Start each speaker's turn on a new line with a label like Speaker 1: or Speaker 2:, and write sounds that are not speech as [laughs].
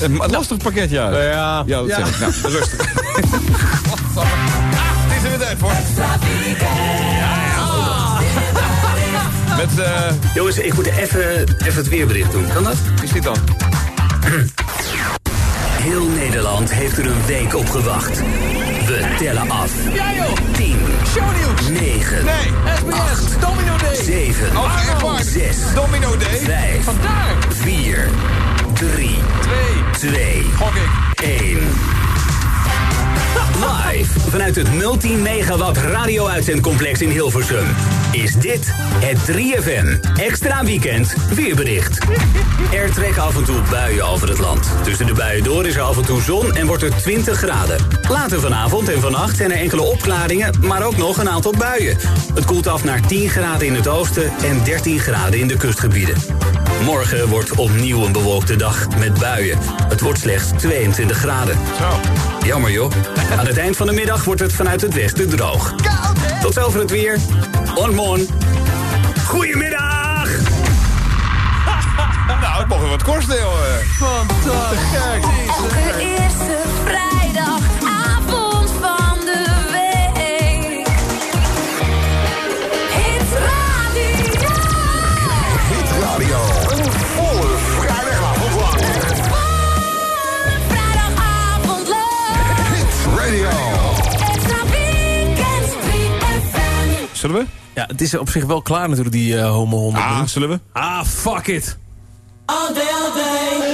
Speaker 1: Een ma- lastig pakket, ja.
Speaker 2: Nou ja.
Speaker 1: ja, dat
Speaker 2: Ja. Ah,
Speaker 1: zeg ik. Nou,
Speaker 2: [laughs]
Speaker 1: rustig.
Speaker 2: Het is er weer tijd voor.
Speaker 1: Met, eh,
Speaker 3: Jongens, ik moet even, even het weerbericht doen. Kan dat?
Speaker 1: wie is dit dan?
Speaker 3: Heel Nederland heeft er een week op gewacht. We tellen af. 10, 9, 7,
Speaker 1: Oh, echt waar.
Speaker 3: 6,
Speaker 1: Domino Day.
Speaker 3: 5, 4, 3,
Speaker 1: Twee.
Speaker 3: 2,
Speaker 1: Gok ik.
Speaker 3: 1. Live vanuit het multi-megawatt radio-uitzendcomplex in Hilversum is dit het 3FM Extra Weekend Weerbericht. Er trekken af en toe buien over het land. Tussen de buien door is er af en toe zon en wordt het 20 graden. Later vanavond en vannacht zijn er enkele opklaringen, maar ook nog een aantal buien. Het koelt af naar 10 graden in het oosten en 13 graden in de kustgebieden. Morgen wordt opnieuw een bewolkte dag met buien. Het wordt slechts 22 graden. Jammer joh. Aan het eind van de middag wordt het vanuit het westen droog. Tot zover het weer. Onmon. Goedemiddag!
Speaker 2: Nou, het mocht wel wat eh. kosten, joh.
Speaker 4: Elke eerste vrijdagavond van de week. Hits Radio.
Speaker 5: Hit Radio. Een volle vrijdagavond lang.
Speaker 4: Volle vrijdagavond leuk.
Speaker 5: Hit Radio.
Speaker 4: Extra weekend 3FM.
Speaker 1: Zullen we?
Speaker 6: Ja, het is op zich
Speaker 3: Ah,
Speaker 6: wel klaar natuurlijk, die eh homo honden.
Speaker 1: Ah, zullen we?
Speaker 6: Ah, fuck it.
Speaker 7: All day, all day.